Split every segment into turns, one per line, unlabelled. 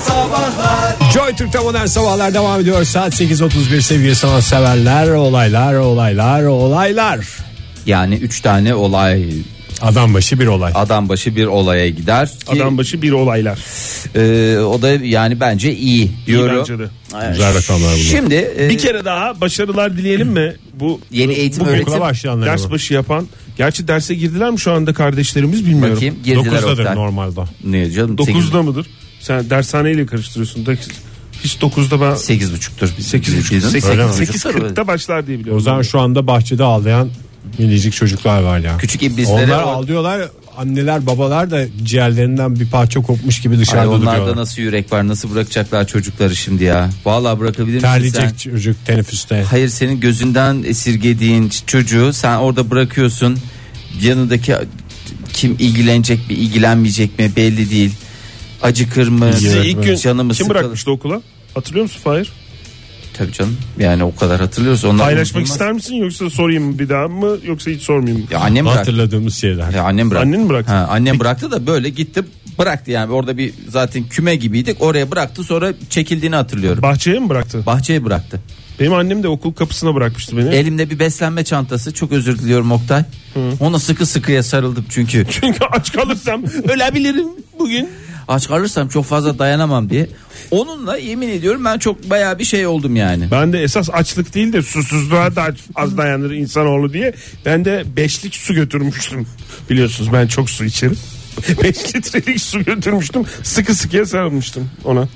Sabahlar
Joy Türk'te modern sabahlar devam ediyor. Saat 8.31 sevgili sanatseverler. Olaylar, olaylar, olaylar.
Yani üç tane olay
Adam başı bir olay.
adam başı bir olaya gider ki
Adam başı bir olaylar.
e, o da yani bence iyi diyorum.
bence de.
Evet.
Güzel rakamlar bunlar.
Şimdi e,
Bir kere daha başarılar dileyelim mi? Bu
yeni eğitim
bu
öğretim
Okula başlayanlar.
ders
ama.
başı yapan. Gerçi derse girdiler mi şu anda kardeşlerimiz bilmiyorum.
bakayım girdiler
Dokuzdadır
Oktay.
normalde.
Ne canım?
9'da mıdır? Sen dershaneyle karıştırıyorsun. Dok- Hiç 9'da ben
8 buçuktur.
8 buçuk. 8
Öyle mi?
40'da başlar diye
O
biliyorum.
zaman şu anda bahçede ağlayan minicik çocuklar var ya.
Küçük iblisleri
Onlar
or-
ağlıyorlar. Anneler babalar da ciğerlerinden bir parça kopmuş gibi
Ay,
dışarıda
onlarda
duruyorlar.
nasıl yürek var nasıl bırakacaklar çocukları şimdi ya. Vallahi bırakabilir misin sen?
Terleyecek çocuk teneffüste.
Hayır senin gözünden esirgediğin ç- çocuğu sen orada bırakıyorsun. Yanındaki kim ilgilenecek mi ilgilenmeyecek mi belli değil. Acıkır mı?
Sizi ilk gün
Canımı
kim
sıkılır.
bırakmıştı okula? Hatırlıyor musun Fahir?
Tabii canım. Yani o kadar hatırlıyoruz. Onlar
Paylaşmak
unutulmaz.
ister misin yoksa sorayım mı bir daha mı yoksa hiç sormayayım mı?
Ya annem bıraktı.
Hatırladığımız şeyler.
Ya annem bıraktı.
Annen mi bıraktı?
Ha, annem bıraktı da böyle gitti bıraktı yani orada bir zaten küme gibiydik oraya bıraktı sonra çekildiğini hatırlıyorum.
Bahçeye mi bıraktı?
Bahçeye bıraktı.
Benim annem de okul kapısına bırakmıştı beni.
Elimde bir beslenme çantası çok özür diliyorum Oktay. Ona sıkı sıkıya sarıldım çünkü.
Çünkü aç kalırsam ölebilirim bugün.
aç kalırsam çok fazla dayanamam diye. Onunla yemin ediyorum ben çok bayağı bir şey oldum yani.
Ben de esas açlık değil de susuzluğa da az dayanır insanoğlu diye. Ben de beşlik su götürmüştüm. Biliyorsunuz ben çok su içerim. 5 litrelik su götürmüştüm. Sıkı sıkıya sarılmıştım ona.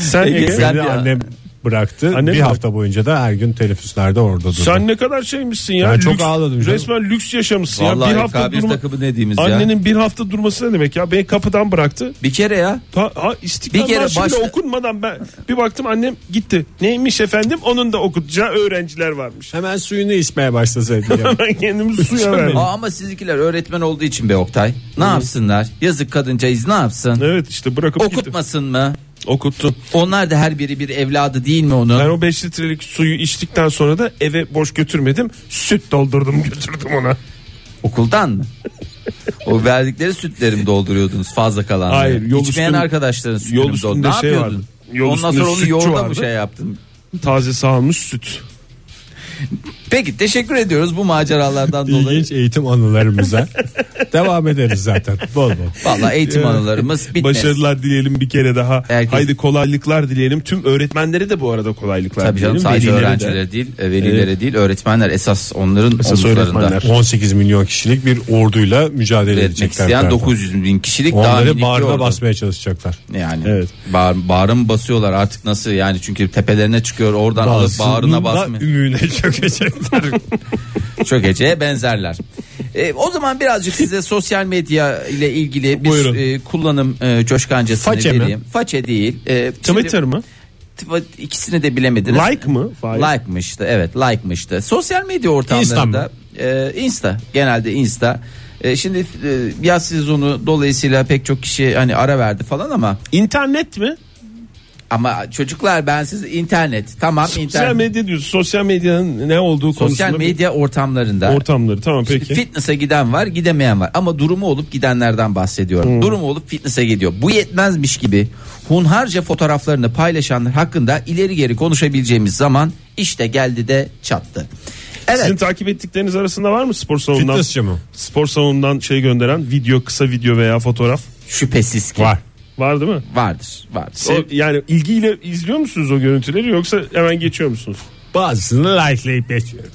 Sen
Ege,
Ege,
sen-
Beni
Ya.
annem bıraktı.
Annem
bir
bırak-
hafta boyunca da her gün teneffüslerde orada durdu.
sen ne kadar şeymişsin ya.
Ben çok ağladım canım.
Resmen lüks yaşamışsın
Vallahi
ya. Bir hafta
bir
durma,
takımı ne diyeyim ya.
annenin bir hafta durması ne demek ya? Beni kapıdan bıraktı.
Bir kere ya.
Ta, ha, İstiklal
Bir kere
Marşı
başta-
bile okunmadan ben bir baktım annem gitti. Neymiş efendim? Onun da okutacağı öğrenciler varmış.
Hemen suyunu içmeye başlasaydı. ya.
Ben kendimi suya verdim.
Aa, ama sizinkiler öğretmen olduğu için be Oktay. Ne yapsınlar? Yazık kadıncağız ne yapsın?
Evet işte bırakıp gitti.
Okutmasın mı?
Okuttu.
Onlar da her biri bir evladı değil mi
Ben
onun?
o 5 litrelik suyu içtikten sonra da eve boş götürmedim. Süt doldurdum götürdüm ona.
Okuldan mı? o verdikleri sütleri mi dolduruyordunuz fazla kalanları?
Hayır, yol
İçmeyen
üstün-
arkadaşların sütünü
yol
mi doldurdun?
üstünde
Ne
şey
yapıyordun?
vardı. Yol
Ondan
üstünde
sonra onu
sütçü
yoğurda mı
vardı.
şey yaptın?
Taze sağılmış süt.
Peki teşekkür ediyoruz bu maceralardan dolayı.
İlginç eğitim anılarımıza devam ederiz zaten. Bol bol.
Valla eğitim anılarımız bitmez.
Başarılar dileyelim bir kere daha.
Herkes-
Haydi kolaylıklar dileyelim. Tüm öğretmenlere de bu arada kolaylıklar
Tabii canım
dileyelim.
sadece
Velilere de.
öğrencilere değil, e, velilere değil, öğretmenler esas onların
Esas
omuzlarında.
öğretmenler.
18 milyon kişilik bir orduyla mücadele
Öğretmek
edecekler.
isteyen
zaten.
900 bin kişilik daha minik
Onları
bir
bağrına
ordu.
basmaya çalışacaklar.
Yani
Evet.
bağır, bağrı mı basıyorlar artık nasıl yani çünkü tepelerine çıkıyor oradan alıp bağrına basmıyor.
ümüğüne çökecekler.
Çok Ece'ye benzerler. E, o zaman birazcık size sosyal medya ile ilgili
Buyurun.
bir e, kullanım e, coşkancasını
Façe mi?
vereyim. Façe değil. E, şimdi-
Twitter mı?
Tw- ikisini de bilemediniz.
Like mı? Fahir?
Like'mıştı evet like'mıştı. Sosyal medya ortamlarında e, Insta genelde Insta. E, şimdi e, yaz sezonu dolayısıyla pek çok kişi hani ara verdi falan ama
İnternet mi?
ama çocuklar ben siz internet tamam
Sosyal
internet.
medya diyorsun. Sosyal medyanın ne olduğu konusunda.
Sosyal medya ortamlarında.
ortamları. Tamam peki.
Fitness'e giden var gidemeyen var ama durumu olup gidenlerden bahsediyorum.
Hmm.
Durumu olup fitness'e gidiyor. Bu yetmezmiş gibi hunharca fotoğraflarını paylaşanlar hakkında ileri geri konuşabileceğimiz zaman işte geldi de çattı. Evet
Sizin takip ettikleriniz arasında var mı spor salonundan?
Fitnessçi mi?
Spor salonundan şey gönderen video kısa video veya fotoğraf
şüphesiz ki
Var.
var değil mi?
vardır vardır.
Sev- yani ilgiyle izliyor musunuz o görüntüleri yoksa hemen geçiyor musunuz?
Bazısını likeleyip geçiyorum.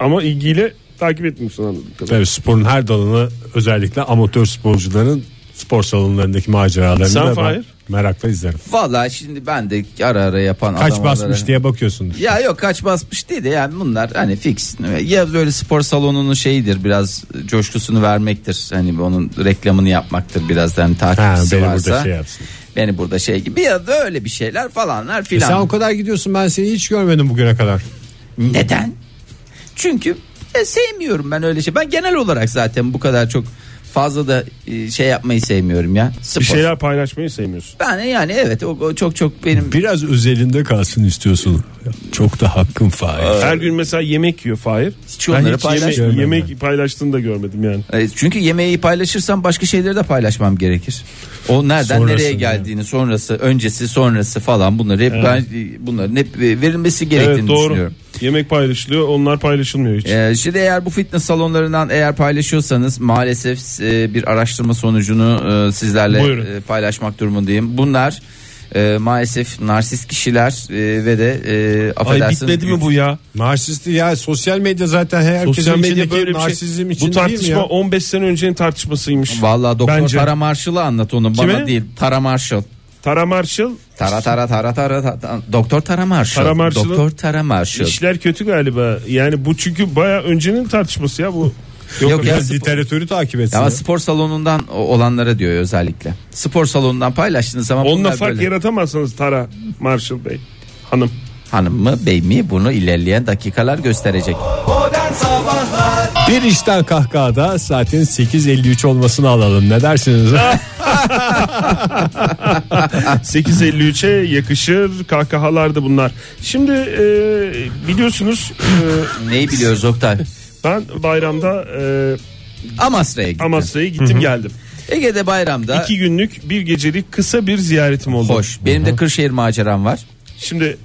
Ama ilgiyle takip etmiyorsun anladım.
Tabii sporun her dalını özellikle amatör sporcuların spor salonlarındaki maceralarını
Sen
da ben
Fahir?
merakla izlerim.
Valla şimdi ben de ara ara yapan
Kaç
adam
basmış
olarak-
diye bakıyorsundur.
Ya yok kaç basmış değil de yani bunlar hani fix. Ya böyle spor salonunun şeyidir biraz coşkusunu vermektir. Hani onun reklamını yapmaktır biraz da hani
Ha,
takipçisi
beni
varsa.
burada şey yapsın.
Beni burada şey gibi ya da öyle bir şeyler falanlar
E sen
filan.
o kadar gidiyorsun ben seni hiç görmedim bugüne kadar.
Neden? Çünkü e, sevmiyorum ben öyle şey. Ben genel olarak zaten bu kadar çok fazla da e, şey yapmayı sevmiyorum ya. Spor.
Bir
şey
şeyler paylaşmayı sevmiyorsun.
Ben yani evet o, o çok çok benim
Biraz özelinde kalsın istiyorsun. Çok da hakkın Fahir.
Her gün mesela yemek yiyor Fahir.
Hiç onları
yemek,
paylaşmıyorum
yemek paylaştığını da görmedim yani.
E, Çünkü yemeği paylaşırsam başka şeyleri de paylaşmam gerekir. O nereden
Sonrası,
nereye
yani.
geldiğini sonrası öncesi sonrası falan bunları hep ben e, bunların hep verilmesi gerektiğini
Evet doğru.
düşünüyorum.
Yemek paylaşılıyor onlar paylaşılmıyor hiç.
Ee, şimdi eğer bu fitness salonlarından eğer paylaşıyorsanız maalesef e, bir araştırma sonucunu e, sizlerle
Buyurun.
e, paylaşmak durumundayım. Bunlar e, maalesef narsist kişiler e, ve de e,
Ay
affedersiniz.
bitmedi mi bu ya?
Narsisti ya sosyal medya zaten herkesin
Sosyal medya
içindeki
böyle bir
narsizm
şey.
için
Bu
değil mi
tartışma
ya?
15 sene öncenin tartışmasıymış.
Vallahi doktor
Bence.
Tara Marshall'ı anlat onu bana
Kime?
değil. Tara Marshall.
Tara Marshall
Tara tara tara tara, tara- Doktor Tara Marshall.
Tara Marshall'ın-
Doktor Tara Marshall.
işler kötü galiba. Yani bu çünkü baya öncenin tartışması ya bu. Yok,
Yok ya,
ya,
Biraz literatürü takip etsin.
Ya Ama
ya.
spor salonundan o- olanlara diyor özellikle. Spor salonundan paylaştığınız zaman
Onunla
bunlar
fark
böyle-
yaratamazsınız Tara Marshall Bey. Hanım.
hanım mı bey mi bunu ilerleyen dakikalar gösterecek.
Bir işten kahkahada saatin 8.53 olmasını alalım. Ne dersiniz?
8.53'e yakışır kahkahalardı bunlar. Şimdi e, biliyorsunuz e,
Neyi biliyoruz Oktay?
ben bayramda e,
Amasra'ya gittim.
Amasya'ya gittim geldim.
Ege'de bayramda
İki günlük bir gecelik kısa bir ziyaretim oldu.
hoş. Benim de Kırşehir maceram var.
Şimdi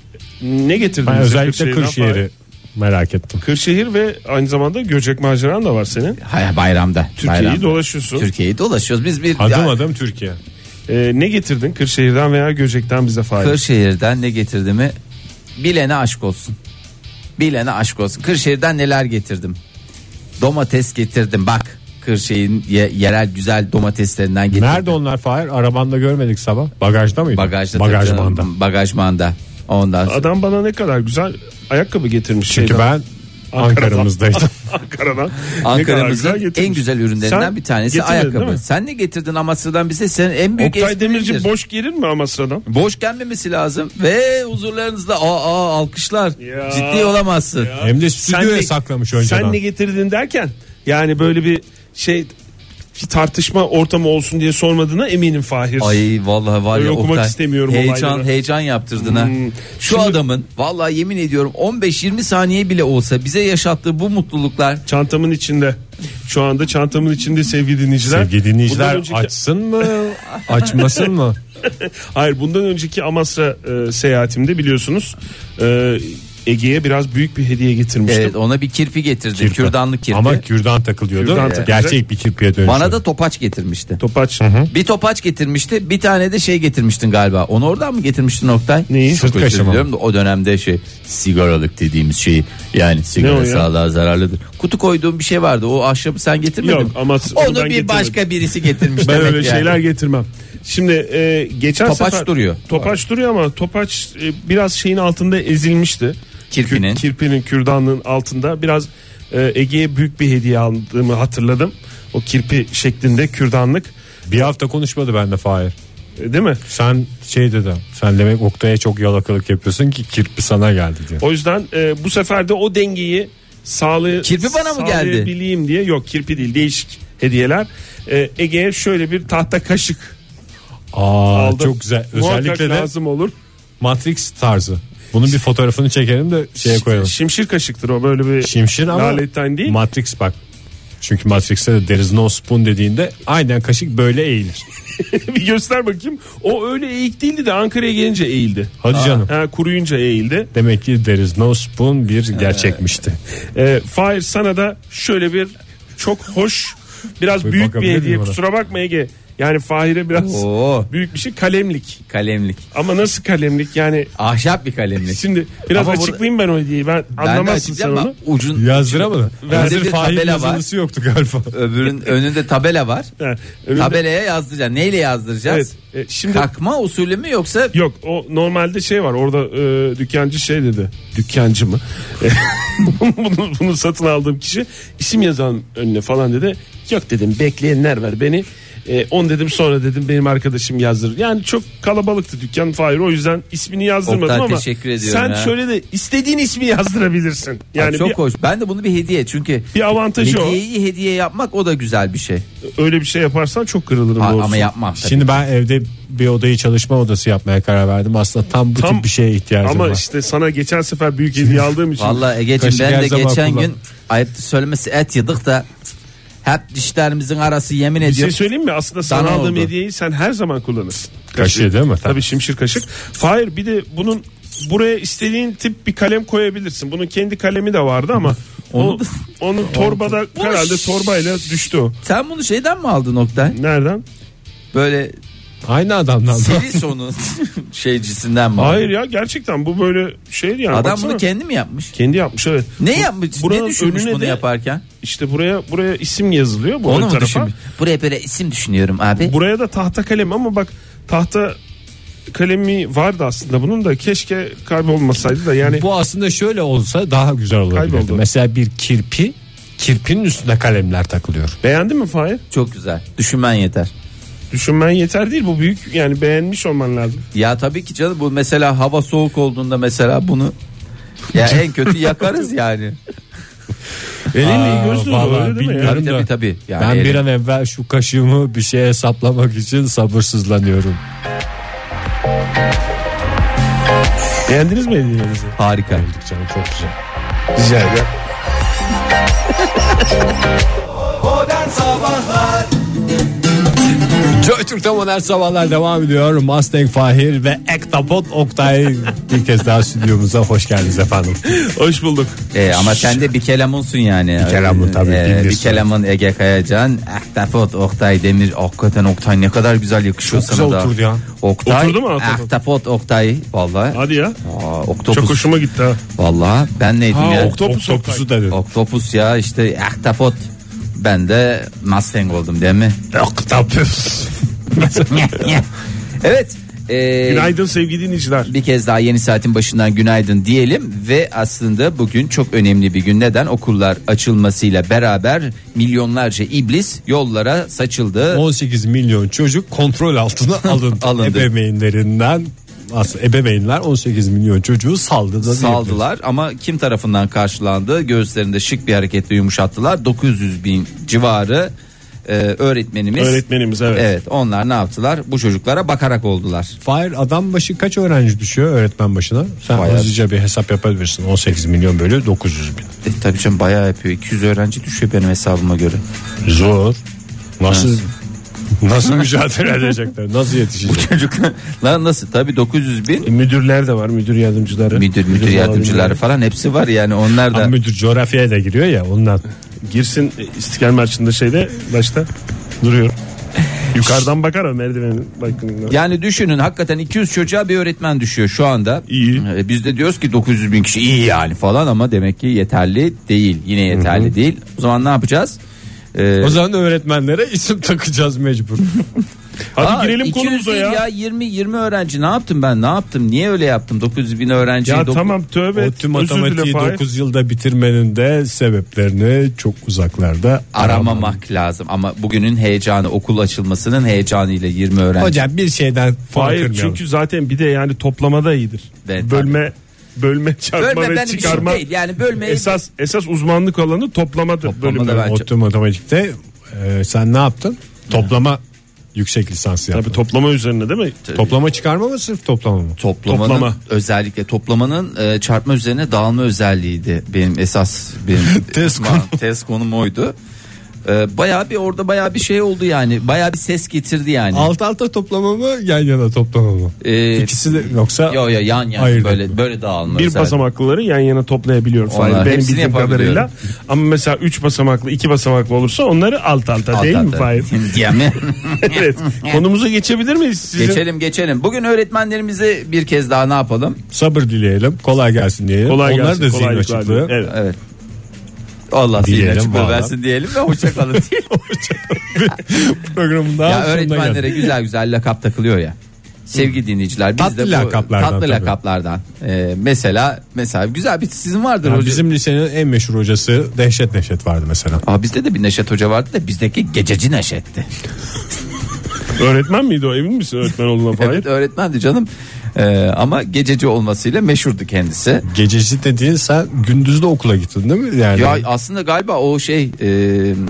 ne getirdin?
Ben
bize
özellikle
Kırşehir'den?
Kırşehir'i merak ettim.
Kırşehir ve aynı zamanda Göcek maceran da var senin.
Hayır bayramda.
Türkiye'yi
bayramda.
dolaşıyorsun.
Türkiye'yi dolaşıyoruz. Biz bir
Adım
ya-
adım Türkiye.
E, ne getirdin Kırşehir'den veya Göcek'ten bize fayda?
Kırşehir'den ne getirdiğimi bilene aşk olsun. Bilene aşk olsun. Kırşehir'den neler getirdim? Domates getirdim bak. Kırşehir'in ye- yerel güzel domateslerinden getirdim.
Nerede onlar Fahir? Arabanda görmedik sabah. Bagajda mıydı?
Bagajda. tabii
Bagajmanda.
canım. Bagajmanda. Ondan sonra.
Adam bana ne kadar güzel ayakkabı getirmiş.
Çünkü
şeyden,
ben Ankara'mızdaydım.
Ankara'dan. Ne kadar
Ankara'mızın
güzel getirmiş.
en güzel ürünlerinden
Sen
bir tanesi
getirdin değil
ayakkabı.
mi?
Sen ne getirdin Amasya'dan bize? Senin en büyük
Oktay
esprindir.
Demirci boş gelir mi Amasra'dan?
Boş gelmemesi lazım ve huzurlarınızda aa, aa alkışlar.
Ya.
Ciddi olamazsın.
Hem de stüdyoya
ne-
saklamış önceden.
Sen ne getirdin derken yani böyle bir şey bir tartışma ortamı olsun diye sormadığına eminim Fahir.
Ay vallahi var
Öyle
ya
okumak
Oktay,
istemiyorum
heyecan
olayları.
heyecan yaptırdın ha.
Hmm.
Şu
Şimdi-
adamın vallahi yemin ediyorum 15-20 saniye bile olsa bize yaşattığı bu mutluluklar
Çantamın içinde. Şu anda çantamın içinde sevgili dinleyiciler.
Sevgili dinleyiciler
Bundan önceki-
açsın mı? Açmasın mı?
Hayır bundan önceki Amasra e, seyahatimde biliyorsunuz e, Ege'ye biraz büyük bir hediye getirmiştim.
evet ona bir kirpi getirdi. Kürdanlı kirpi.
Ama kürdan takılıyordu.
Kürdan
Ee,
takılacak.
Gerçek bir kirpiye dönüşüyor.
Bana da topaç getirmişti.
Topaç.
Bir topaç getirmişti. Bir tane de şey getirmiştin galiba. Onu oradan mı getirmiştin Oktay?
Neyi?
Çok
Sırt
özür
kaşıma.
diliyorum da o dönemde şey sigaralık dediğimiz şey yani
Ne o
sigara
ya?
sağlığa zararlıdır. Kutu koyduğum bir şey vardı. O ahşabı sen getirmedin
Yok,
mi?
ama onu ben
Onu bir
getirmedim.
başka birisi getirmiş
Ben
demek
öyle
yani.
şeyler getirmem. Şimdi e, geçen
Topaç
sefer-
duruyor.
Topaç duruyor ama topaç e, biraz şeyin altında ezilmişti.
Kirpinin.
Kü- kirpinin kürdanının altında biraz e, Ege'ye büyük bir hediye aldığımı hatırladım. O kirpi şeklinde kürdanlık
Bir hafta konuşmadı bende Fahir.
E, değil mi?
Sen şey dedi. Sen demek Oktay'a çok yalakalık yapıyorsun ki kirpi sana geldi diyor.
O yüzden e, bu sefer de o dengeyi sağlay
Kirpi bana mı geldi?
sağlayabileyim diye yok kirpi değil değişik hediyeler. E, Ege'ye şöyle bir tahta kaşık
Aa
aldım.
çok güzel.
Muhakkak
Özellikle de
lazım olur.
Matrix tarzı. Bunun bir fotoğrafını çekelim de şeye koyalım.
Şimşir kaşıktır o böyle bir
Şimşir ama
laletten değil.
Matrix bak. Çünkü Matrix'te de there is no spoon dediğinde aynen kaşık böyle eğilir.
bir göster bakayım. O öyle eğik değildi de Ankara'ya gelince eğildi.
Hadi canım.
Ha, kuruyunca eğildi.
Demek ki there is no spoon bir gerçekmişti.
E, Fahir sana da şöyle bir çok hoş biraz
Bir
büyük
bakabilir
bir hediye.
miyim ona?
Kusura bakma Ege. Yani Fahir'e biraz
Oo
büyük bir şey kalemlik.
kalemlik.
Ama nasıl kalemlik yani
Ahşap bir kalemlik.
Şimdi biraz
Ama burada-
açıklayayım ben o hediyeyi. Ben,
Ben de
anlamazsın sen
açıklayacağım ama
onu.
Ucun
Yazdıramadın.
Önünde
Hazır
bir
Fahir
tabela var. Ee,
yazılısı yoktu galiba.
öbürün önünde tabela var.
Ha, önünde-
Tabelaya yazdıracaksın. Neyle yazdıracağız?
Evet, e, şimdi
Kakma usulü mü yoksa
yok o normalde şey var orada e, dükkancı şey dedi. Dükkancı mı? E, bunu, bunu satın aldığım kişi isim yazan önüne falan dedi. Yok dedim bekleyenler var beni. E, on dedim sonra dedim benim arkadaşım yazdırır. Yani çok kalabalıktı dükkan Fahir o yüzden ismini yazdırmadım
Oktay,
ama
teşekkür ediyorum
sen
ya.
şöyle de istediğin ismi yazdırabilirsin. Yani
Ay, çok
bir-
hoş. Ben de bunu bir hediye çünkü
Bir avantajı o.
hediyeyi hediye yapmak o da güzel bir şey.
öyle bir şey yaparsan çok kırılırım
Ha,
doğrusu.
ama yapmam. tabii.
Şimdi ben evde bir odayı çalışma odası yapmaya karar verdim. Aslında tam bu
Tam-
tip bir şeye ihtiyacım
Ama
var.
işte sana geçen sefer büyük hediye aldığım için.
Vallahi Ege'cim
Kaşık
ben
her
de
zaman
geçen
kullan.
gün ayıp söylemesi et yedik da Hep dişlerimizin arası yemin
Bir şey
ediyorum.
söyleyeyim mi? Aslında sana
Dana
aldığım
oldu.
hediyeyi sen her zaman kullanırsın.
Kaşığı değil mi?
Tabii şimşir kaşık. Hayır bir de bunun buraya istediğin tip bir kalem koyabilirsin. Bunun kendi kalemi de vardı ama
Onu
onu,
da-
onu torbada herhalde torbayla düştü o.
Sen bunu şeyden mi aldın Oktay?
Nereden?
Böyle
Aynı adamdan.
seri sonu şeycisinden mi aldın?
Hayır ya gerçekten bu böyle şey yani.
Adam
baksana.
bunu kendi mi yapmış?
kendi yapmış evet.
Ne
Bu-
yapmış?
buranın
ne düşünmüş
önüne
bunu
de
yaparken?
İşte buraya buraya isim yazılıyor bu ön
Onu mu
tarafa.
düşünmüş? Buraya böyle isim düşünüyorum abi.
Buraya da tahta kalem ama bak tahta kalemi vardı aslında bunun da keşke kaybolmasaydı da yani
Bu aslında şöyle olsa daha güzel olabilirdi.
Kayboldu.
Mesela bir kirpi kirpinin üstüne kalemler takılıyor.
beğendin mi Fahir?
Çok güzel. Düşünmen yeter.
Düşünmen yeter değil bu büyük yani beğenmiş olman lazım.
Ya tabii ki canım bu mesela hava soğuk olduğunda mesela bunu ya en kötü yakarız yani.
Elinle
Aa,
iyi göz nuru
vallahi
öyle değil mi? ya?
bilmiyorum.
Tabii tabii tabii. Yani
ben bir
elim-
an evvel şu kaşığımı bir şeye saplamak için sabırsızlanıyorum.
Beğendiniz mi hediyenizi?
harika.
Canım çok güzel.
Rica ederim.
Joy Türk'te modern sabahlar devam ediyor. Mustang Fahir ve Ektapot Oktay bir kez daha stüdyomuza hoş geldiniz efendim.
Hoş bulduk.
E, ama sen de bir kelamunsun yani. Bir
kelamun tabii,
bir
bilirsin.
kelamın Ege Kayacan, Ahtapot, Oktay Demir. Hakikaten Oktay ne kadar güzel yakışıyor
Çok
sana
güzel
da.
oturdu ya.
Oktay,
Oturdu mu Ahtapot?
Ahtapot Oktay. Vallahi.
Hadi ya.
Aa,
Çok
oktopus.
hoşuma gitti ha.
Vallahi ben neydim ya?
Oktopus,
Oktopusu da diyor.
Oktopus ya işte ahtapot. Ben de Mustang oldum değil mi?
Oktopus.
evet. e,
Günaydın sevgili dinleyiciler.
bir kez daha yeni saatin başından günaydın diyelim ve aslında bugün çok önemli bir gün neden okullar açılmasıyla beraber milyonlarca iblis yollara saçıldı.
18 milyon çocuk kontrol altına alındı.
Alındı.
Ebeveynlerinden aslında ebeveynler 18 milyon çocuğu saldı da diyebiliriz.
saldılar ama kim tarafından karşılandı göğüslerinde şık bir hareketle yumuşattılar 900 bin civarı e, öğretmenimiz
Öğretmenimiz, evet.
E- onlar ne yaptılar bu çocuklara bakarak oldular
Fahir adam başı kaç öğrenci düşüyor öğretmen başına? Sen
Bayağı.
hızlıca bir hesap yapabilirsin. 18 milyon bölü 900 bin.
e, tabii canım bayağı yapıyor 200 öğrenci düşüyor benim hesabıma göre
Zor. Nasıl nasıl mücadele edecekler? Nasıl yetişecek?
çocuklar lan nasıl tabii 900 bin
E, Müdürler de var müdür yardımcıları.
müdür müdür yardımcıları falan hepsi var yani onlar da
Ama müdür coğrafyaya da giriyor ya ondan.
Girsin e, İstiklal Marşı'nda şeyde başta duruyor. Yukarıdan bakar o merdivenin balkonundan.
yani düşünün hakikaten 200 çocuğa bir öğretmen düşüyor şu anda.
İyi.
E, Biz de diyoruz ki 900 bin kişi iyi yani falan ama demek ki yeterli değil. Yine yeterli değil. O zaman ne yapacağız? E,
O zaman öğretmenlere isim takacağız mecbur.
Hadi
aa,
girelim
200
konumuza
değil
ya. Ya,
20 20 öğrenci ne yaptım ben? Ne yaptım? Niye öyle yaptım? 900 bin öğrenci. dokuz-
tamam tövbe.
o
et.
tüm
Özür dile
Şey, matematiği
Fahir.
9 yılda bitirmenin de sebeplerini çok uzaklarda aramamak.
aramamak lazım ama bugünün heyecanı okul açılmasının heyecanıyla 20 öğrenci.
Hocam bir şeyden
Hayır çünkü zaten bir de yani toplamada iyidir.
Evet,
bölme bölme çarpma
Bölme
ve
benim işim
çıkarma.
şey değil. Yani bölmeyi
Esas esas uzmanlık alanı toplamadır.
Toplamada
bölümler.
ben-
Otlu matematikte e, sen ne yaptın? Toplama yüksek lisans yaptın.
Tabii toplama üzerine değil mi?
Toplama çıkarma mı sırf toplama mı?
toplamanın
Toplama.
özellikle toplamanın e, çarpma üzerine dağılma özelliğiydi benim esas benim
Tez
ma- tez konum oydu. E, bayağı bir orada bayağı bir şey oldu yani. Bayağı bir ses getirdi yani.
Alt alta toplama mı yan yana toplama mı?
E,
İkisi de yoksa
Yo yo yan yan
Hayır,
böyle
yok.
böyle dağılma
Bir
özelliği.
basamaklıları yan yana toplayabiliyor. Fahir.
Onlar
Benim
hepsini
bildiğim
yapabiliyorum.
kadarıyla. Ama mesela 3 basamaklı 2 basamaklı olursa onları alt alta
Alt
değil mi
alta.
Fahir?
Diye mi?
evet. Konumuza geçebilir miyiz? Sizin
geçelim geçelim. Bugün öğretmenlerimize bir kez daha ne yapalım?
sabır dileyelim kolay gelsin diyelim.
Kolay
Onlar
gelsin.
da zihin
kolaylıklar
açıklığı.
dilerim. Evet.
Evet. Allah zihin
Diyelim
açık
valla.
versin diyelim ve hoşça kalın diyelim.
Programın daha
ya
sonuna
öğretmenlere
geldik.
güzel güzel lakap takılıyor ya. Sevgili dinleyiciler biz
Tatlı
de bu
lakaplardan
tatlı
tabii.
lakaplardan. Ee, mesela mesela güzel bir sizin vardır
Ya
hoca.
bizim lisenin en meşhur hocası Dehşet Neşet vardı mesela.
Aa, bizde de bir Neşet Hoca vardı da bizdeki gececi Neşet'ti.
Öğretmen miydi o? Emin misin öğretmen olduğuna Fahir?
Evet öğretmendi canım. Ee, ama gececi olmasıyla meşhurdu kendisi.
Gececi dediğin sen gündüz de okula gittin değil mi? Yani
Ya aslında galiba o şey e,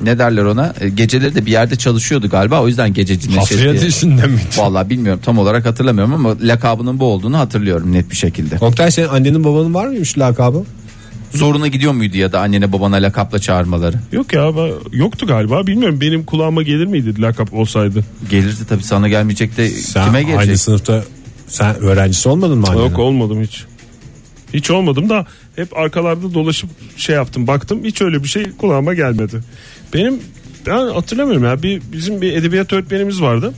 ne derler ona E, geceleri de bir yerde çalışıyordu galiba o yüzden gececi Neşet diye.
hafriyat işinde miydi?
Vallahi bilmiyorum tam olarak hatırlamıyorum ama lakabının bu olduğunu hatırlıyorum net bir şekilde.
Oktay senin annenin babanın var mıymış lakabı?
Zoruna gidiyor muydu ya da annene babana lakapla çağırmaları?
Yok ya ben- yoktu galiba bilmiyorum benim kulağıma gelir miydi lakap olsaydı.
Gelirdi tabii sana gelmeyecek de
Sen
kime gelecek?
aynı sınıfta sen öğrencisi olmadın mı annenin?
Yok olmadım hiç. Hiç olmadım da hep arkalarda dolaşıp şey yaptım baktım hiç öyle bir şey kulağıma gelmedi. Benim ben hatırlamıyorum ya bir bizim bir edebiyat öğretmenimiz vardı.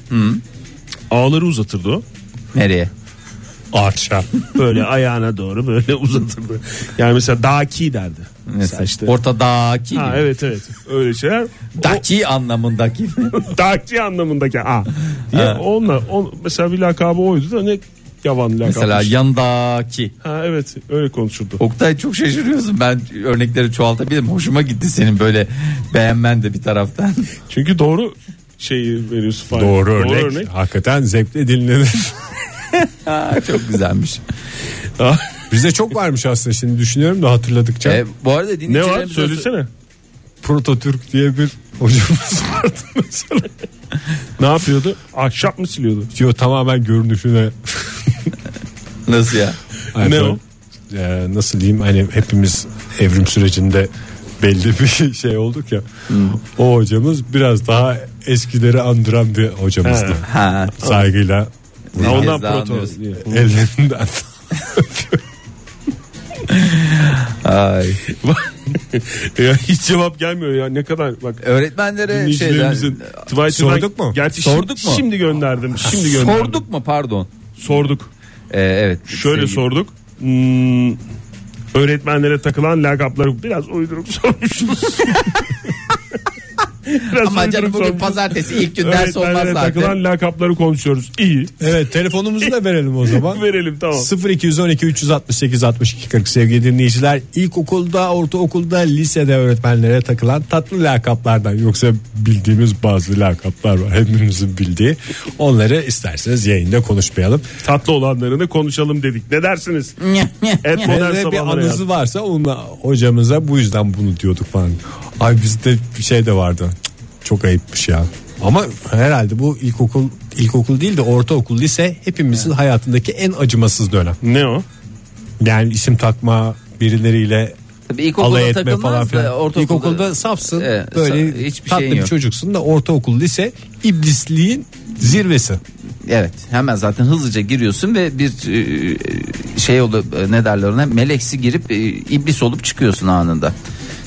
Ağları uzatırdı o.
Nereye?
Arşa.
Böyle ayağına doğru böyle uzatırdı. Yani mesela daki derdi. Mesela
Mesela
işte.
Ortadaki
Ha,
gibi.
evet evet öyle şeyler.
Daki anlamındaki.
daki anlamındaki a. Diye
Ha.
onunla on, mesela bir lakabı oydu da ne yavan lakabı.
Mesela yandaki.
Ha evet öyle konuşurdu.
Oktay çok şaşırıyorsun. Ben örnekleri çoğaltabilirim. Hoşuma gitti senin böyle beğenmen de bir taraftan.
Çünkü doğru şeyi veriyorsun. Fahir.
Doğru örnek. Hakikaten zevkle dinlenir.
Ha, çok güzelmiş.
Bizde çok varmış aslında şimdi düşünüyorum da hatırladıkça.
E, bu arada
Ne var
dinleyicilerimize-
söylesene.
Prototürk diye bir hocamız vardı mesela.
Ne yapıyordu? Ahşap mı siliyordu?
Diyor tamamen görünüşüne.
Nasıl ya?
Hani
Ne
böyle,
o?
e, nasıl diyeyim hani hepimiz evrim sürecinde belli bir şey olduk ya. O hocamız biraz daha eskileri andıran bir hocamızdı.
Ha,
Saygıyla
Bir
Ha,
kez
ondan
daha
proto.
anlıyoruz.
ellerinden.
Ay.
ya hiç cevap gelmiyor ya ne kadar bak.
Öğretmenlere şeyden
Dinleyicilerimizin Twitter'dan
Sorduk mu?
Gerçi
Sorduk
şimdi,
mu?
Şimdi gönderdim. Şimdi gönderdim.
sorduk mu pardon?
Sorduk.
E, evet.
Şöyle
Sevgili-
sorduk. Hmm, öğretmenlere takılan lakapları biraz uydurup sormuşuz. biraz
Ama canım
uydurup
bugün
sormuşuz.
pazartesi ilk gün ders olmaz
Öğretmenlere
zaten.
takılan lakapları konuşuyoruz. İyi.
evet telefonumuzu da verelim o zaman.
Verelim tamam.
0212 368 62 40 sevgili dinleyiciler ilkokulda ortaokulda lisede öğretmenlere takılan tatlı lakaplardan yoksa bildiğimiz bazı lakaplar var hepimizin bildiği onları isterseniz yayında konuşmayalım
Tatlı olanlarını konuşalım dedik. Ne dersiniz? Et modern
Eğer bir
sabahlara
anısı varsa onunla hocamıza bu yüzden bunu diyorduk falan ay bizde bir şey de vardı Cık, çok ayıpmış ya ama herhalde bu ilkokul ilkokul değil de ortaokul lise hepimizin hayatındaki en acımasız dönem
Ne o?
Yani isim takma birileriyle
Tabii ilkokulda
alay etme
takılmaz
falan
da
filan.
ortaokulda-
İlkokulda safsın.
Evet, sa-
böyle
hiçbir
tatlı
şeyin
bir
yok.
çocuksun da ortaokul lise iblisliğin zirvesi.
Evet hemen zaten hızlıca giriyorsun ve bir e, şey olup e, ne derler ona meleksi girip e, iblis olup çıkıyorsun anında.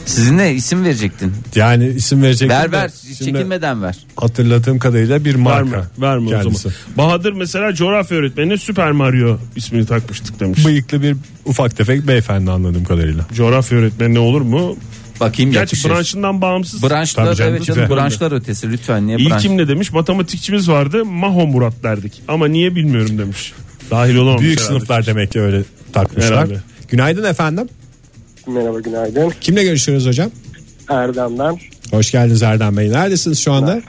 Sizin ne isim verecektin?
Yani isim verecek.
Ver
de
ver
şimdi
çekinmeden ver.
Hatırladığım kadarıyla bir
Verme,
marka.
verme o
kendisi.
zaman. Bahadır mesela coğrafya öğretmenine Süper Mario ismini takmıştık demiş.
Bıyıklı bir ufak tefek beyefendi anladığım kadarıyla.
coğrafya öğretmenine olur mu?
Bakayım
Gerçi
yakışır.
branşından bağımsız.
branşlar
Tabii canım,
evet canım
lütfen.
branşlar ötesi lütfen niye
İlk
branş?
kim ne demiş? Matematikçimiz vardı. Maho Murat derdik. Ama niye bilmiyorum demiş. Dahil olamamış.
Büyük
herhalde.
sınıflar demek ki öyle takmışlar.
Herhalde.
Günaydın efendim.
Merhaba günaydın.
Kimle görüşüyoruz hocam?
Erdem'den.
Hoş geldiniz Erdem Bey. Neredesiniz şu anda?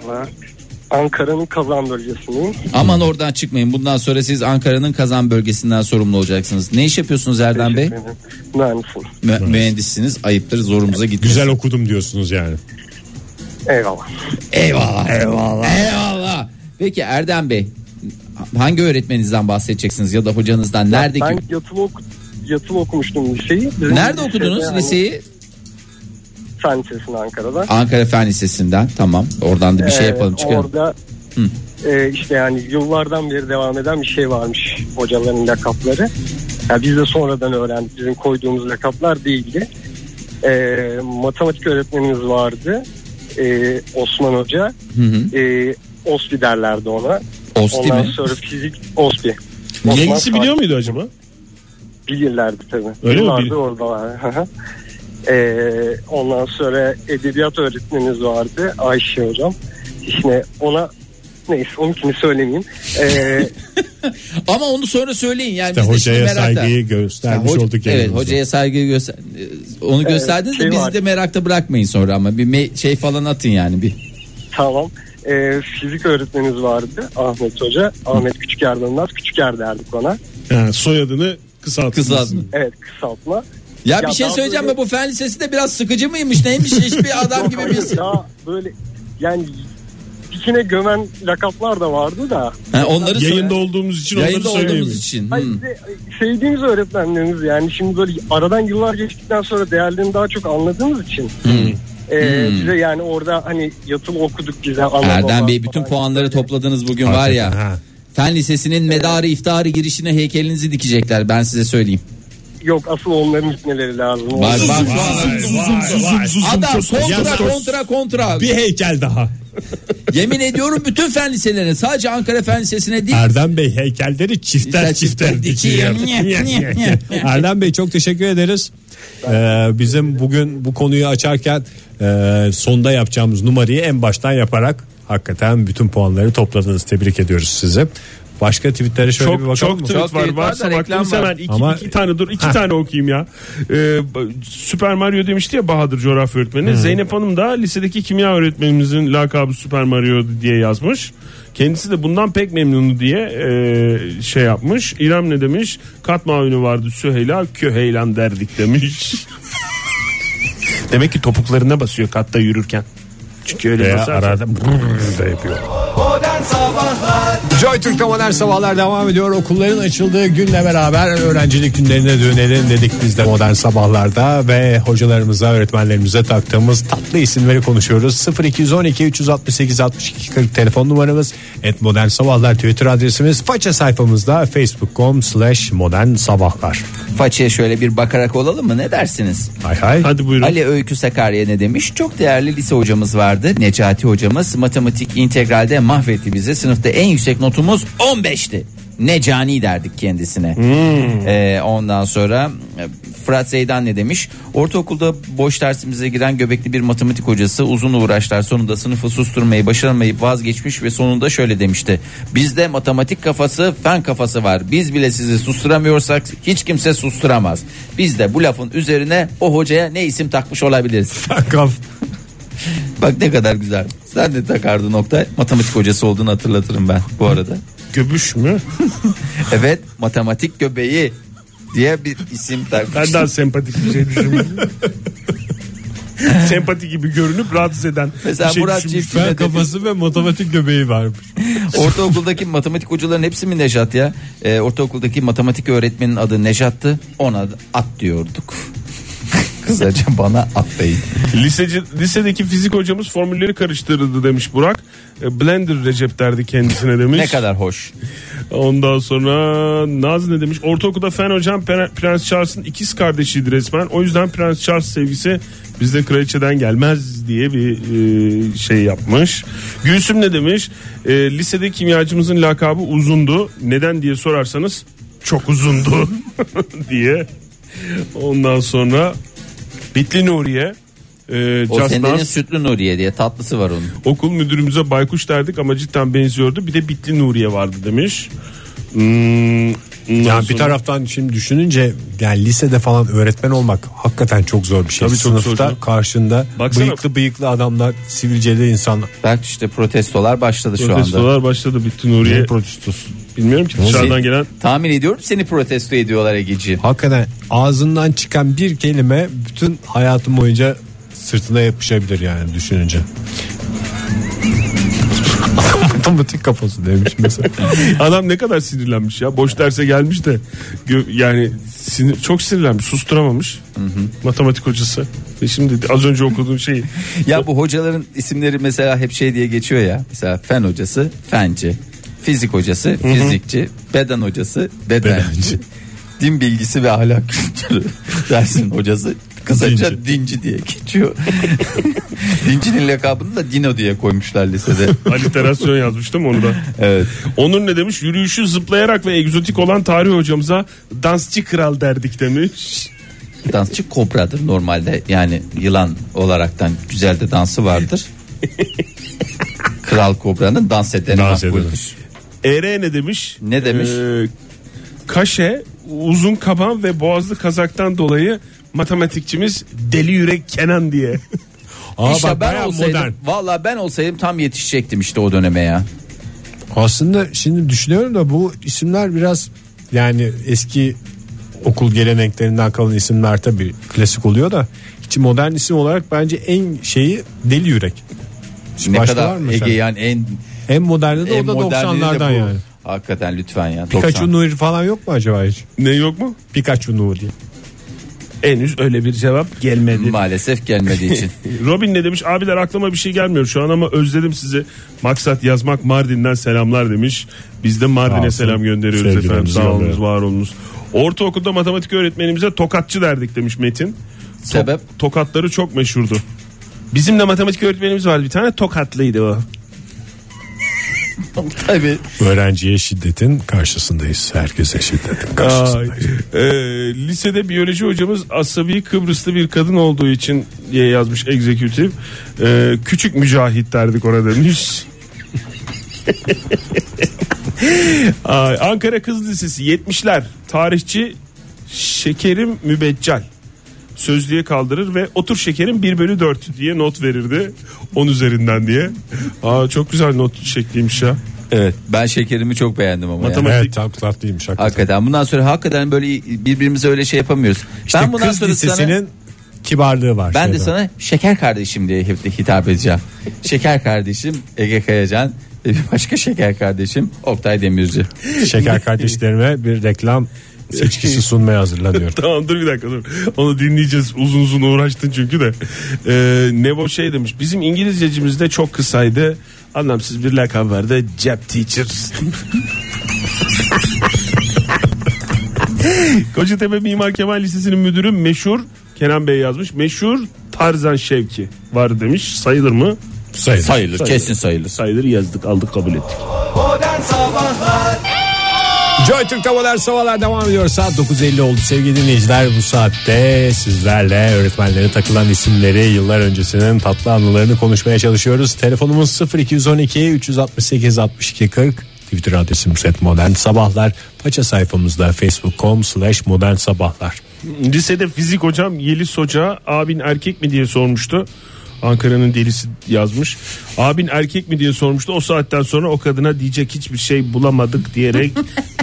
Ankara'nın Kazan bölgesindeyim.
Aman oradan çıkmayın. Bundan sonra siz Ankara'nın kazan bölgesinden sorumlu olacaksınız. Ne iş yapıyorsunuz Erdem Bey?
Benim mühendisim.
Mü- mühendissiniz. Ayıptır zorumuza gitmesin.
Güzel okudum diyorsunuz yani.
Eyvallah.
Eyvallah. Eyvallah. Eyvallah. Peki Erdem Bey hangi öğretmeninizden bahsedeceksiniz ya da hocanızdan nerede
Ben yatılı, oku, yatılı okumuştum liseyi. Bizim
Nerede
lisede
okudunuz
hani
liseyi?
Fen Lisesi'nde Ankara'da.
Ankara Fen Lisesi'nden. Tamam. Oradan da bir şey
Ee,
yapalım çıkalım.
Orada e, işte yani yıllardan beri devam eden bir şey varmış hocaların lakapları. Ya biz de sonradan öğrendik. Bizim koyduğumuz lakaplar değildi. Ee, matematik öğretmenimiz vardı. Ee, Osman Hoca.
Hı hı.
Ee, Osbi derlerdi ona.
Osti
Ondan
mi?
sonra fizik Osbi.
Yengesi biliyor muydu acaba?
Bilirlerdi tabii.
Öyle mi?
Yıllardır
Bil-
oradalar. Hı hı. ee, ondan sonra edebiyat öğretmenimiz vardı Ayşe hocam. İşte ona neyse onunkini söylemeyeyim. Ee,
Ama onu sonra söyleyin yani
İşte
biz de şimdi
hocaya
merakta.
saygıyı göstermiş
hoca-
olduk.
evet
yayınımızda.
hocaya saygıyı göster e, onu gösterdiniz de
şey
bizi
var.
de merakta bırakmayın sonra ama bir me- şey falan atın yani bir.
tamam. Ee, fizik öğretmenimiz vardı Ahmet Hoca. Ahmet Küçüker'den Küçüker derdik ona.
Ha, soyadını kısaltmış.
Kızladın.
Evet kısaltma.
Ya,
Ya
bir şey
daha
söyleyeceğim
böyle-
mi bu fen lisesi de biraz sıkıcı mıymış neymiş hiçbir adam gibi bir
Daha böyle yani içine gömen lakaplar da vardı da.
Ha, onları
Yayında olduğumuz için
Yayında
onları söyleyeyim.
olduğumuz için.
Hayır,
Hmm.
bize sevdiğimiz öğretmenlerimiz yani şimdi böyle aradan yıllar geçtikten sonra değerlerini daha çok anladığımız için. e,
Hmm.
Bize yani orada hani yatılı okuduk bize. ana
Erdem
baba
Bey bütün
falan.
puanları topladınız bugün var ya.
Ha.
Fen Lisesi'nin medarı iftiharı girişine heykelinizi dikecekler ben size söyleyeyim.
Yok asıl onların gitmeleri lazım.
Var var.
Vay, vay, vay.
Adam kontra
Yastos.
kontra kontra.
Bir heykel daha.
Yemin ediyorum bütün fen liselerine sadece Ankara Fen Lisesi'ne değil.
Erdem Bey heykelleri
Çifter
çifter çifter
çifter
dikiyor.
dikiyor. Niye, niye, niye.
Erdem Bey çok teşekkür ederiz. Ee, bizim bugün bu konuyu açarken e, sonda yapacağımız numarayı en baştan yaparak hakikaten bütün puanları topladınız. Tebrik ediyoruz sizi. Başka tweetlere şöyle bir
Çok
bakalım
çok
mı?
tweet
Çok
var.
tweet var
Varsa
da reklam
baktığımız
var.
hemen iki,
Ama-
iki tane dur. iki tane okuyayım ya. Ee, Süper Mario demişti ya Bahadır coğrafya öğretmeni. Zeynep Hanım da lisedeki kimya öğretmenimizin lakabı Süper Mario diye yazmış. Kendisi de bundan pek memnunu diye e, şey yapmış. İrem ne demiş? Katma oyunu vardı Süheyla Köheylan derdik demiş. Demek ki topuklarına basıyor katta yürürken. Çünkü öyle
Veya
basarsa-
arada brrrr da yapıyor.
Modern Sabahlar
Joy Türk'te modern sabahlar devam ediyor. Okulların açıldığı günle beraber öğrencilik günlerine dönelim dedik biz de modern sabahlarda ve hocalarımıza, öğretmenlerimize taktığımız tatlı isimleri konuşuyoruz. 0212 368 62 40 telefon numaramız. Et modern sabahlar Twitter adresimiz. Faça sayfamızda facebook.com slash modern sabahlar.
Façıya şöyle bir bakarak olalım mı ne dersiniz?
Hay hay.
Hadi buyurun.
Ali Öykü Sakarya ne demiş? Çok değerli lise hocamız vardı. Necati hocamız matematik integralde mahvetti bizi. Sınıfta en yüksek notumuz 15'ti. Ne cani derdik kendisine. Ee, ondan sonra e, Fırat Zeydan ne demiş? Ortaokulda boş dersimize giren göbekli bir matematik hocası uzun uğraşlar sonunda sınıfı susturmayı başaramayıp vazgeçmiş ve sonunda şöyle demişti. Bizde matematik kafası fen kafası var. Biz bile sizi susturamıyorsak hiç kimse susturamaz. Biz de bu lafın üzerine o hocaya ne isim takmış olabiliriz?
Kaf.
Bak ne kadar güzel. Sen de takardın nokta. Matematik hocası olduğunu hatırlatırım ben bu arada.
Göbüş mü?
Evet matematik göbeği diye bir isim takmış.
Ben daha sempatik bir şey düşünmedim. sempatik gibi görünüp rahatsız eden
Mesela
bir şey
Murat
düşünmüş.
Çiftçi ne demiş?
ve matematik göbeği varmış.
Ortaokuldaki matematik hocaların hepsi mi Nejat ya? Ee, ortaokuldaki matematik öğretmenin adı Nejat'tı. Ona da at diyorduk. Kısaca bana at deyin.
Liseci, lisedeki fizik hocamız formülleri karıştırdı demiş Burak. E, Blender Recep derdi kendisine demiş.
Ne kadar hoş.
Ondan sonra Naz ne demiş? Ortaokulda fen hocam Pre- Prens Charles'ın ikiz kardeşiydi resmen. O yüzden Prens Charles sevgisi bizde kraliçeden gelmez diye bir e, şey yapmış. Gülsüm ne demiş? E, lisede kimyacımızın lakabı uzundu. Neden diye sorarsanız çok uzundu diye. Ondan sonra Bitli Nuriye e,
O
Just
sendenin
Dance-
sütlü Nuriye diye tatlısı var onun.
Okul müdürümüze baykuş derdik ama cidden benziyordu. Bir de bitli Nuriye vardı demiş. Hmm, ondan
Yani bir
sonra-
taraftan şimdi düşününce yani lisede falan öğretmen olmak hakikaten çok zor bir şey.
Tabii çok
Sınıfta
zor.
karşında
Baksana.
bıyıklı bıyıklı adamlar, sivilceli insanlar.
Bak işte protestolar başladı şu anda.
protestolar başladı bitli Nuriye.
protestosu?
Bilmiyorum ki
Seni-
dışarıdan gelen
Tahmin ediyorum seni protesto ediyorlar Egeciğim.
Hakikaten ağzından çıkan bir kelime bütün hayatım boyunca sırtına yapışabilir yani düşününce. Matematik kafası demiş mesela.
adam ne kadar sinirlenmiş ya. Boş derse gelmiş de gö- yani sinir, çok sinirlenmiş susturamamış. Matematik hocası. E şimdi az önce okuduğum şey şeyi.
Ya bu hocaların isimleri mesela hep şey diye geçiyor ya. Mesela fen hocası fenci. Fizik hocası fizikçi. Beden hocası bedenci. Din bilgisi ve ahlak kültürü dersin hocası kısaca dinci, diye geçiyor. Dincinin lakabını da Dino diye koymuşlar lisede.
Aliterasyon yazmıştım onu da.
evet.
Onur ne demiş? Yürüyüşü zıplayarak ve egzotik olan tarih hocamıza dansçı kral derdik demiş.
Dansçı kobradır normalde. Yani yılan olaraktan güzel de dansı vardır. Kral kobranın dans edeni
Dans
makbuldür.
edeni.
Ere E ne demiş?
Ne demiş?
Ee, kaşe, uzun kaban ve boğazlı kazaktan dolayı matematikçimiz Deli Yürek Kenan diye.
Aa,
İşte
bak,
ben
bayağı
olsaydım
modern.
valla ben olsaydım tam yetişecektim işte o döneme ya.
Aslında şimdi düşünüyorum da bu isimler biraz yani eski okul geleneklerinden kalan isimler tabii klasik oluyor da hiç modern isim olarak bence en şeyi deli yürek.
Ne
Başka var
kadar
mı
Ege
sen?
yani en
En moderni de
en
o da
moderni de
90'lardan
bu.
yani.
Hakikaten lütfen ya.
Pikachu
90.
Nuri falan yok mu acaba hiç?
Ne yok mu?
Pikachu Nuri.
Henüz öyle bir cevap gelmedi.
Maalesef gelmediği için.
Robin ne demiş? Abiler aklıma bir şey gelmiyor şu an ama özledim sizi. Maksat yazmak Mardin'den selamlar demiş. Biz de
Sağ
Mardin'e
olsun.
selam gönderiyoruz
Sevgilerimizi
efendim. Sağ olunuz,
gönderiyorum.
var olunuz. Ortaokulda matematik öğretmenimize tokatçı derdik demiş Metin. To-
Sebep?
tokatları çok meşhurdu. Bizim de matematik öğretmenimiz vardı bir tane tokatlıydı o.
Tabii.
Öğrenciye şiddetin karşısındayız. Herkese şiddetin
Ay. Ee, lisede biyoloji hocamız asabi Kıbrıslı bir kadın olduğu için diye yazmış egzekütif. Ee, küçük mücahit derdik ona demiş. Ay, Ankara Kız Lisesi 70'ler tarihçi Şekerim Mübeccal sözlüğe kaldırır ve otur şekerim 1 bölü 4 diye not verirdi 10 üzerinden diye. Aa, çok güzel not şekliymiş ya.
Evet. Ben şekerimi çok beğendim ama. yani.
Evet tam tatlıymış hakikaten.
Hakikaten bundan sonra hakikaten böyle birbirimize öyle şey yapamıyoruz.
İşte
ben bundan
kız
sonra sana
lisesinin kibarlığı var.
ben de
şeyde.
sana şeker kardeşim diye hep de hitap edeceğim. şeker kardeşim Ege Kayacan ve bir başka şeker kardeşim Oktay Demirci.
Şeker kardeşlerime bir reklam seçkisi sunmaya hazırlanıyorum.
Tamam dur bir dakika dur. Onu dinleyeceğiz. Uzun uzun uğraştın çünkü de. Ee, Nebo şey demiş. Bizim İngilizcecimiz de çok kısaydı. Anlamsız bir lakab vardı. Jap Teacher. Kocatepe Mimar Kemal Lisesi'nin müdürü meşhur Kenan Bey yazmış. Meşhur Tarzan Şevki var demiş. Sayılır mı?
Sayılır.
Sayılır, kesin sayılır.
Sayılır yazdık aldık kabul ettik.
Modern Sabahlar
Joy Türk'te modern sabahlar devam ediyor. Saat 9.50 oldu sevgili dinleyiciler. Bu saatte sizlerle öğretmenlere takılan isimleri yıllar öncesinin tatlı anılarını konuşmaya çalışıyoruz. Telefonumuz 0212 368 62 40. Twitter adresimiz et modern sabahlar. Paça sayfamızda facebook.com slash modern sabahlar.
Lisede fizik hocam Yeliz Hoca abin erkek mi diye sormuştu. Ankara'nın delisi yazmış. Abin erkek mi diye sormuştu. O saatten sonra o kadına diyecek hiçbir şey bulamadık diyerek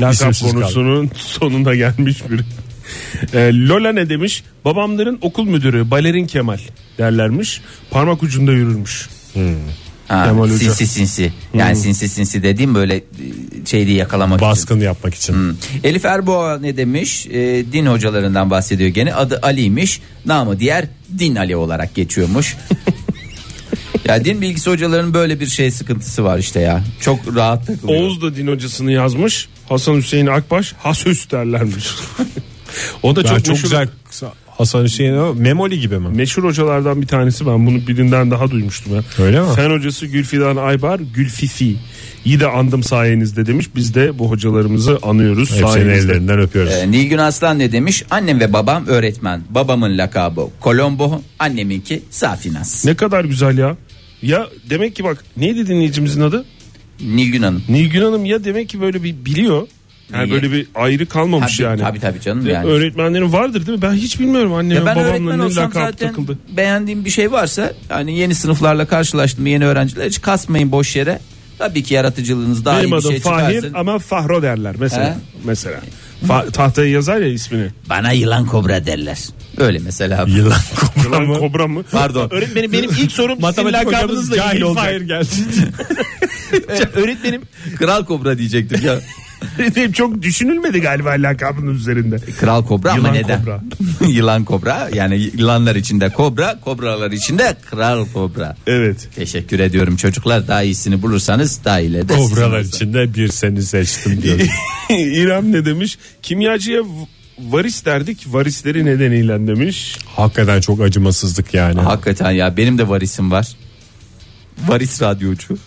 lakap
İsimsiz kaldı.
konusunun sonuna gelmiş biri. Ee, Lola ne demiş? Babamların okul müdürü Balerin Kemal derlermiş. Parmak ucunda yürürmüş.
Ha,
Kemal Hoca. Hmm.
sinsi sinsi. Yani sinsi sinsi dediğim böyle şeydi yakalamak için.
Baskın yapmak için.
Hmm.
Elif Erboğa ne demiş? Ee, din hocalarından bahsediyor gene. Adı Ali'ymiş. Namı diğer Din Ali olarak geçiyormuş. ya din bilgisi hocalarının böyle bir şey sıkıntısı var işte ya. Çok rahat takılıyor.
Oğuz da din hocasını yazmış. Hasan Hüseyin Akbaş Hasüs derlermiş. o da
Ben
çok,
çok,
meşhur-
güzel Hasan Hüseyin o Memoli gibi mi?
Meşhur hocalardan bir tanesi ben bunu birinden daha duymuştum ya.
Öyle mi?
Fen hocası Gülfidan Aybar Gülfisi. İyi de andım sayenizde demiş. Biz de bu hocalarımızı anıyoruz
Hepsinin
sayenizde.
ellerinden öpüyoruz.
Ee, Nilgün Aslan ne demiş? Annem ve babam öğretmen. Babamın lakabı Kolombo, anneminki Safinas.
Ne kadar güzel ya. Ya demek ki bak neydi dinleyicimizin adı?
Nilgün Hanım.
Nilgün Hanım ya demek ki böyle bir biliyor. Yani
İyi.
böyle bir ayrı kalmamış
Tabii,
yani.
tabii tabii canım yani.
Öğretmenlerin vardır değil mi? Ben hiç bilmiyorum annem
Ya ben öğretmen
babamla ne
olsam
lakabı
zaten
takıldı.
beğendiğim bir şey varsa yani yeni sınıflarla karşılaştım yeni öğrenciler hiç kasmayın boş yere. Tabii ki yaratıcılığınız daha
Benim
iyi bir
adım
şey
Fahir
çıkarsın.
ama Fahro derler mesela.
He?
Mesela. Fa- tahtaya yazar ya ismini.
Bana yılan kobra derler. Öyle mesela.
Yılan kopar.
Yılan kobra mı?
Pardon.
Öğretmenim benim ilk sorum sizin
Matematik
lakabınızla
hocamız cahil
ilgili.
olacak.
Hayır gelsin.
öğretmenim kral kobra diyecektim ya.
Öğretmenim çok düşünülmedi galiba lakabının üzerinde.
Kral kobra ama
Yılan
neden?
kobra.
yılan kobra yani yılanlar içinde kobra, kobralar içinde kral kobra.
Evet.
Teşekkür ediyorum çocuklar. Daha iyisini bulursanız daha iyi de.
Kobralar
sizin olsun.
içinde bir seni seçtim diyor.
İrem ne demiş? Kimyacıya v- varis derdik varisleri nedeniyle demiş.
Hakikaten çok acımasızlık yani.
Hakikaten ya benim de varisim var. Varis radyocu.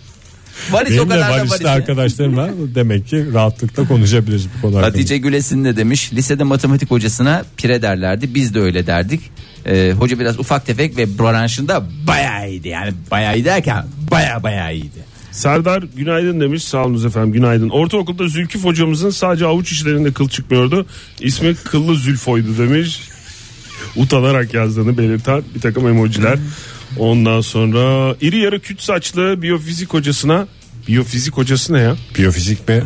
Varis o
Benim de
kadar da
varisli
varisi.
arkadaşlarım var. Demek ki rahatlıkla konuşabiliriz bu konu hakkında.
Hatice Gülesin de demiş lisede matematik hocasına pire derlerdi biz de öyle derdik. Ee, hoca biraz ufak tefek ve branşında bayağı iyiydi yani bayağı iyi derken baya baya iyiydi.
Serdar günaydın demiş. Sağ olunuz efendim günaydın. Ortaokulda Zülküf hocamızın sadece avuç içlerinde kıl çıkmıyordu. İsmi Kıllı Zülfoy'du demiş. Utanarak yazdığını belirten bir takım emojiler. Ondan sonra iri yarı küt saçlı biyofizik hocasına biyofizik hocası ne ya?
Biyofizik mi?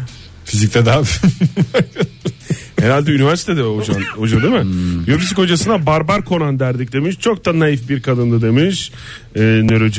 Fizikte daha
Herhalde üniversitede hocam, hoca değil mi?
Hmm.
Biyofisik hocasına barbar konan derdik demiş. Çok da naif bir kadındı demiş. Ee,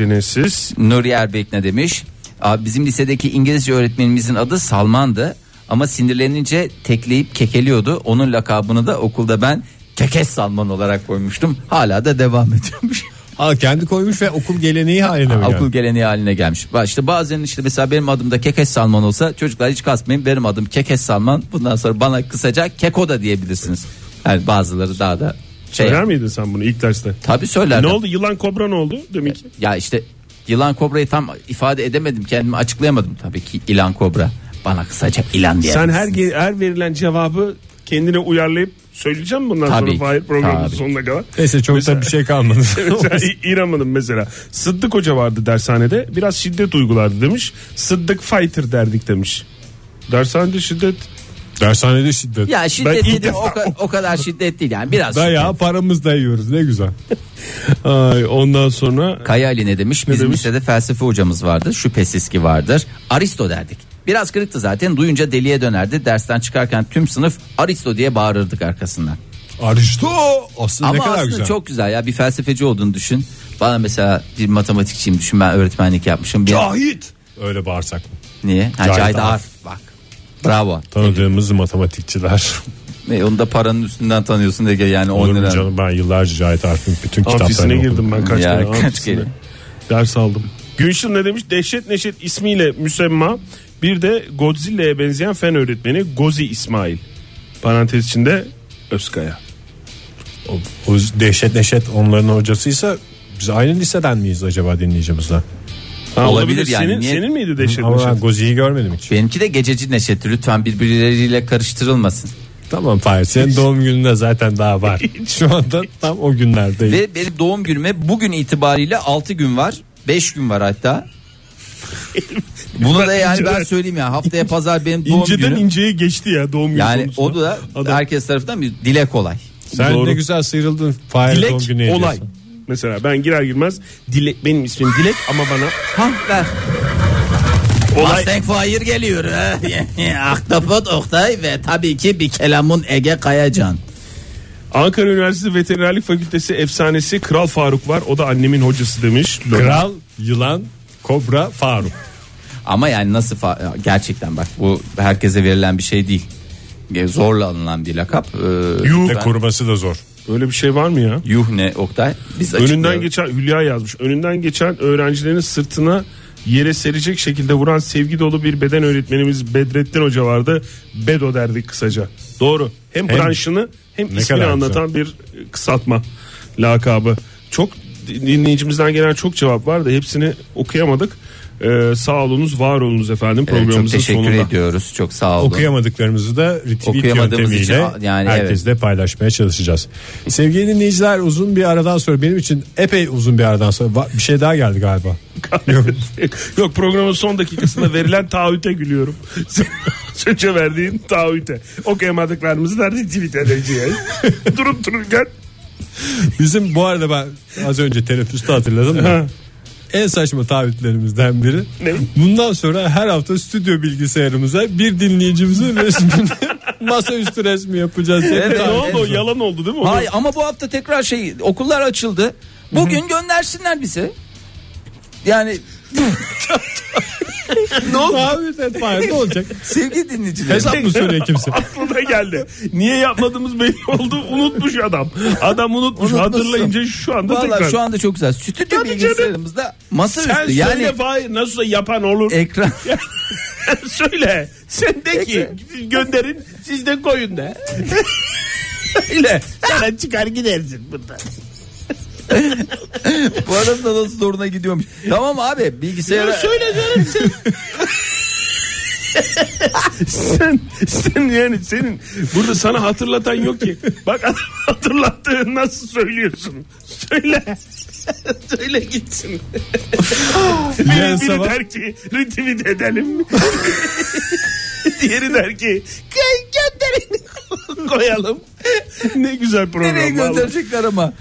nörojenesiz.
Nuri Erbek ne demiş? Abi bizim lisedeki İngilizce öğretmenimizin adı Salman'dı. Ama sinirlenince tekleyip kekeliyordu. Onun lakabını da okulda ben Kekes Salman olarak koymuştum. Hala da devam ediyormuş.
Ha, kendi koymuş ve okul geleneği haline mi
Okul
geldi?
geleneği haline gelmiş. Bak İşte bazen işte mesela benim adım da Kekes Salman olsa çocuklar hiç kasmayın benim adım Kekes Salman. Bundan sonra bana kısaca Keko da diyebilirsiniz. Yani bazıları daha da şey.
Söyler miydin sen bunu ilk derste?
Tabii söylerdim.
Ne oldu? Yılan kobra ne oldu? Demek ki.
Ya işte yılan kobrayı tam ifade edemedim kendimi açıklayamadım tabii ki ilan kobra. Bana kısaca ilan diye.
Sen her ge- her verilen cevabı kendine uyarlayıp söyleyeceğim bundan
Tabii
sonra
ki,
Fahir programının
tabii.
sonuna kadar.
Neyse çok da bir şey kalmadı.
Mesela İ- İrem Hanım mesela Sıddık Hoca vardı dershanede biraz şiddet uygulardı demiş Sıddık Fighter derdik demiş Dershanede şiddet
Dershanede şiddet.
Ya
Ben
şiddet
ilk
dedim,
defa-
o, ka- o kadar şiddet değil yani biraz. şiddet.
Dayağı paramızla yiyoruz ne güzel.
Ay, ondan sonra
Kaya Ali ne demiş? Bizim
demiş?
lisede felsefe hocamız vardı. Şüphesiz ki vardır. Aristo derdik. Biraz kırıktı zaten. Duyunca deliye dönerdi. Dersten çıkarken tüm sınıf Aristo diye bağırırdık arkasından.
Aristo aslında ne
Ama
kadar
aslında
güzel.
çok güzel ya. Bir felsefeci olduğunu düşün. Bana mesela bir matematikçiyim düşün. Ben öğretmenlik yapmışım. Bir...
Cahit. Öyle bağırsak mı?
Niye? Ha,
Cahit
Cahit
Arf.
Arf. Bak. Bravo.
Tanıdığımız matematikçiler.
E, onu da paranın üstünden tanıyorsun Ege yani 10
Olur mu
lira.
canım ben yıllarca Cahit Arif'in bütün kitaplarını
ofisine
okudum.
girdim ben kaç
Ya,
kere
kaç
ofisine.
kere.
ders aldım Gülşin ne demiş dehşet neşet ismiyle müsemma bir de Godzilla'ya benzeyen fen öğretmeni Gozi İsmail parantez içinde Özkaya
O, o dehşet neşet onların hocasıysa biz aynı liseden miyiz acaba dinleyicimizden?
Ha,
Olabilir yani,
senin,
niye-
senin miydi dehşet
Ama ben
neşet
Gozi'yi görmedim hiç.
Benimki de gececi neşeti lütfen birbirleriyle karıştırılmasın.
Tamam Fahir senin doğum gününde zaten daha var. Şu anda tam o günlerdeyiz.
Ve benim doğum günüme bugün itibariyle 6 gün var. 5 gün var hatta. Bunu da yani ben söyleyeyim ya haftaya pazar benim doğum
İnceden
günüm.
inceye geçti ya doğum günü
Yani
konusunda.
o da
Adam-
herkes tarafından bir dile kolay.
Sen
Doğru.
ne güzel sıyrıldın Fahir
Dilek
doğum günü
olay.
hediyesi.
Mesela ben girer girmez Dilek benim ismim Dilek ama bana
Ha ver.
olay
Mustang Fire geliyor. ha. Ahtapot Oktay ve tabii ki bir kelamun Ege Kayacan.
Ankara Üniversitesi Veterinerlik Fakültesi efsanesi Kral Faruk var. O da annemin hocası demiş.
Kral, yılan, kobra, faruk.
Ama yani nasıl fa- gerçekten bak bu herkese verilen bir şey değil. E, Zorla alınan bir lakap. Ee,
Ve
ben-
koruması da zor.
Öyle bir şey var mı ya?
Yuh ne Oktay? Biz
Önünden
açıklıyoruz.
geçen Hülya yazmış. Önünden geçen öğrencilerin sırtına yere serecek şekilde vuran sevgi dolu bir beden öğretmenimiz Bedrettin Hoca vardı. Bedo derdik kısaca. Doğru. Hem,
Hem-
branşını hem
Ne
ismini
kadar
anlatan bir e, kısaltma lakabı. Çok dinleyicimizden gelen çok cevap vardı. Hepsini okuyamadık. Ee, sağ olunuz, var olunuz efendim
Evet,
programımızın
çok teşekkür
sonunda.
ediyoruz. Çok sağ olun.
Okuyamadıklarımızı da retweet
Okuyamadığımız için
yöntemiyle
yani
herkesle paylaşmaya çalışacağız. Sevgili dinleyiciler uzun bir aradan sonra benim için epey uzun bir aradan sonra Va- bir şey daha geldi galiba.
Yok programın son dakikasında verilen taahhüte gülüyorum. Söze verdiğin taahhüte. Okuyamadıklarımızı da retweet edeceğiz. durup dururken
Bizim bu arada ben az önce teneffüste hatırladım da. En saçma taahhütlerimizden biri.
Ne?
Bundan sonra her hafta stüdyo bilgisayarımıza bir dinleyicimizin resmini masaüstü resmi yapacağız. diye bir
Evet,
ne
taahhüt.
oldu o yalan oldu değil mi?
Hayır ama bu hafta tekrar şey okullar açıldı. Bugün göndersinler bizi. Yani
ne oldu? Taahhüt et Fahir, ne olacak?
sevgili dinleyiciler.
Hesap mı soruyor kimse?
Aklına geldi. Niye yapmadığımız belli oldu. Unutmuş adam. Adam unutmuş.
Unutmuşsun.
Hatırlayınca şu anda
Valla
tekrar.
şu anda çok güzel. Stüdyo
Tabii
bilgisayarımızda
Sen
masaüstü
yani...
yani E-
söyle Fahir nasılsa yapan olur.
ekran
söyle. Sen de ki gönderin siz de koyun de. Öyle. Sana çıkar gidersin buradan.
bu arada da nasıl zoruna gidiyormuş. Tamam abi bilgisayara
Söyle canım sen. sen sen yani senin burada sana hatırlatan yok ki. Bak adam hatırlattığını nasıl söylüyorsun? Söyle. Söyle gitsin.
Yarın
Biri, biri
sabah-
der ki retweet edelim. Diğeri der ki "Gö- gönderin koyalım. Ne güzel program.
nereye
vallahi.
gönderecekler ama.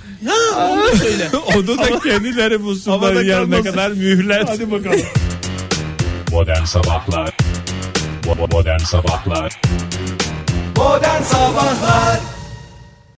Onu da kendileri bulsunlar
Havada
yarına
kalmasın.
kadar mühürler.
Hadi bakalım.
Modern Sabahlar Bo- Modern Sabahlar
Modern Sabahlar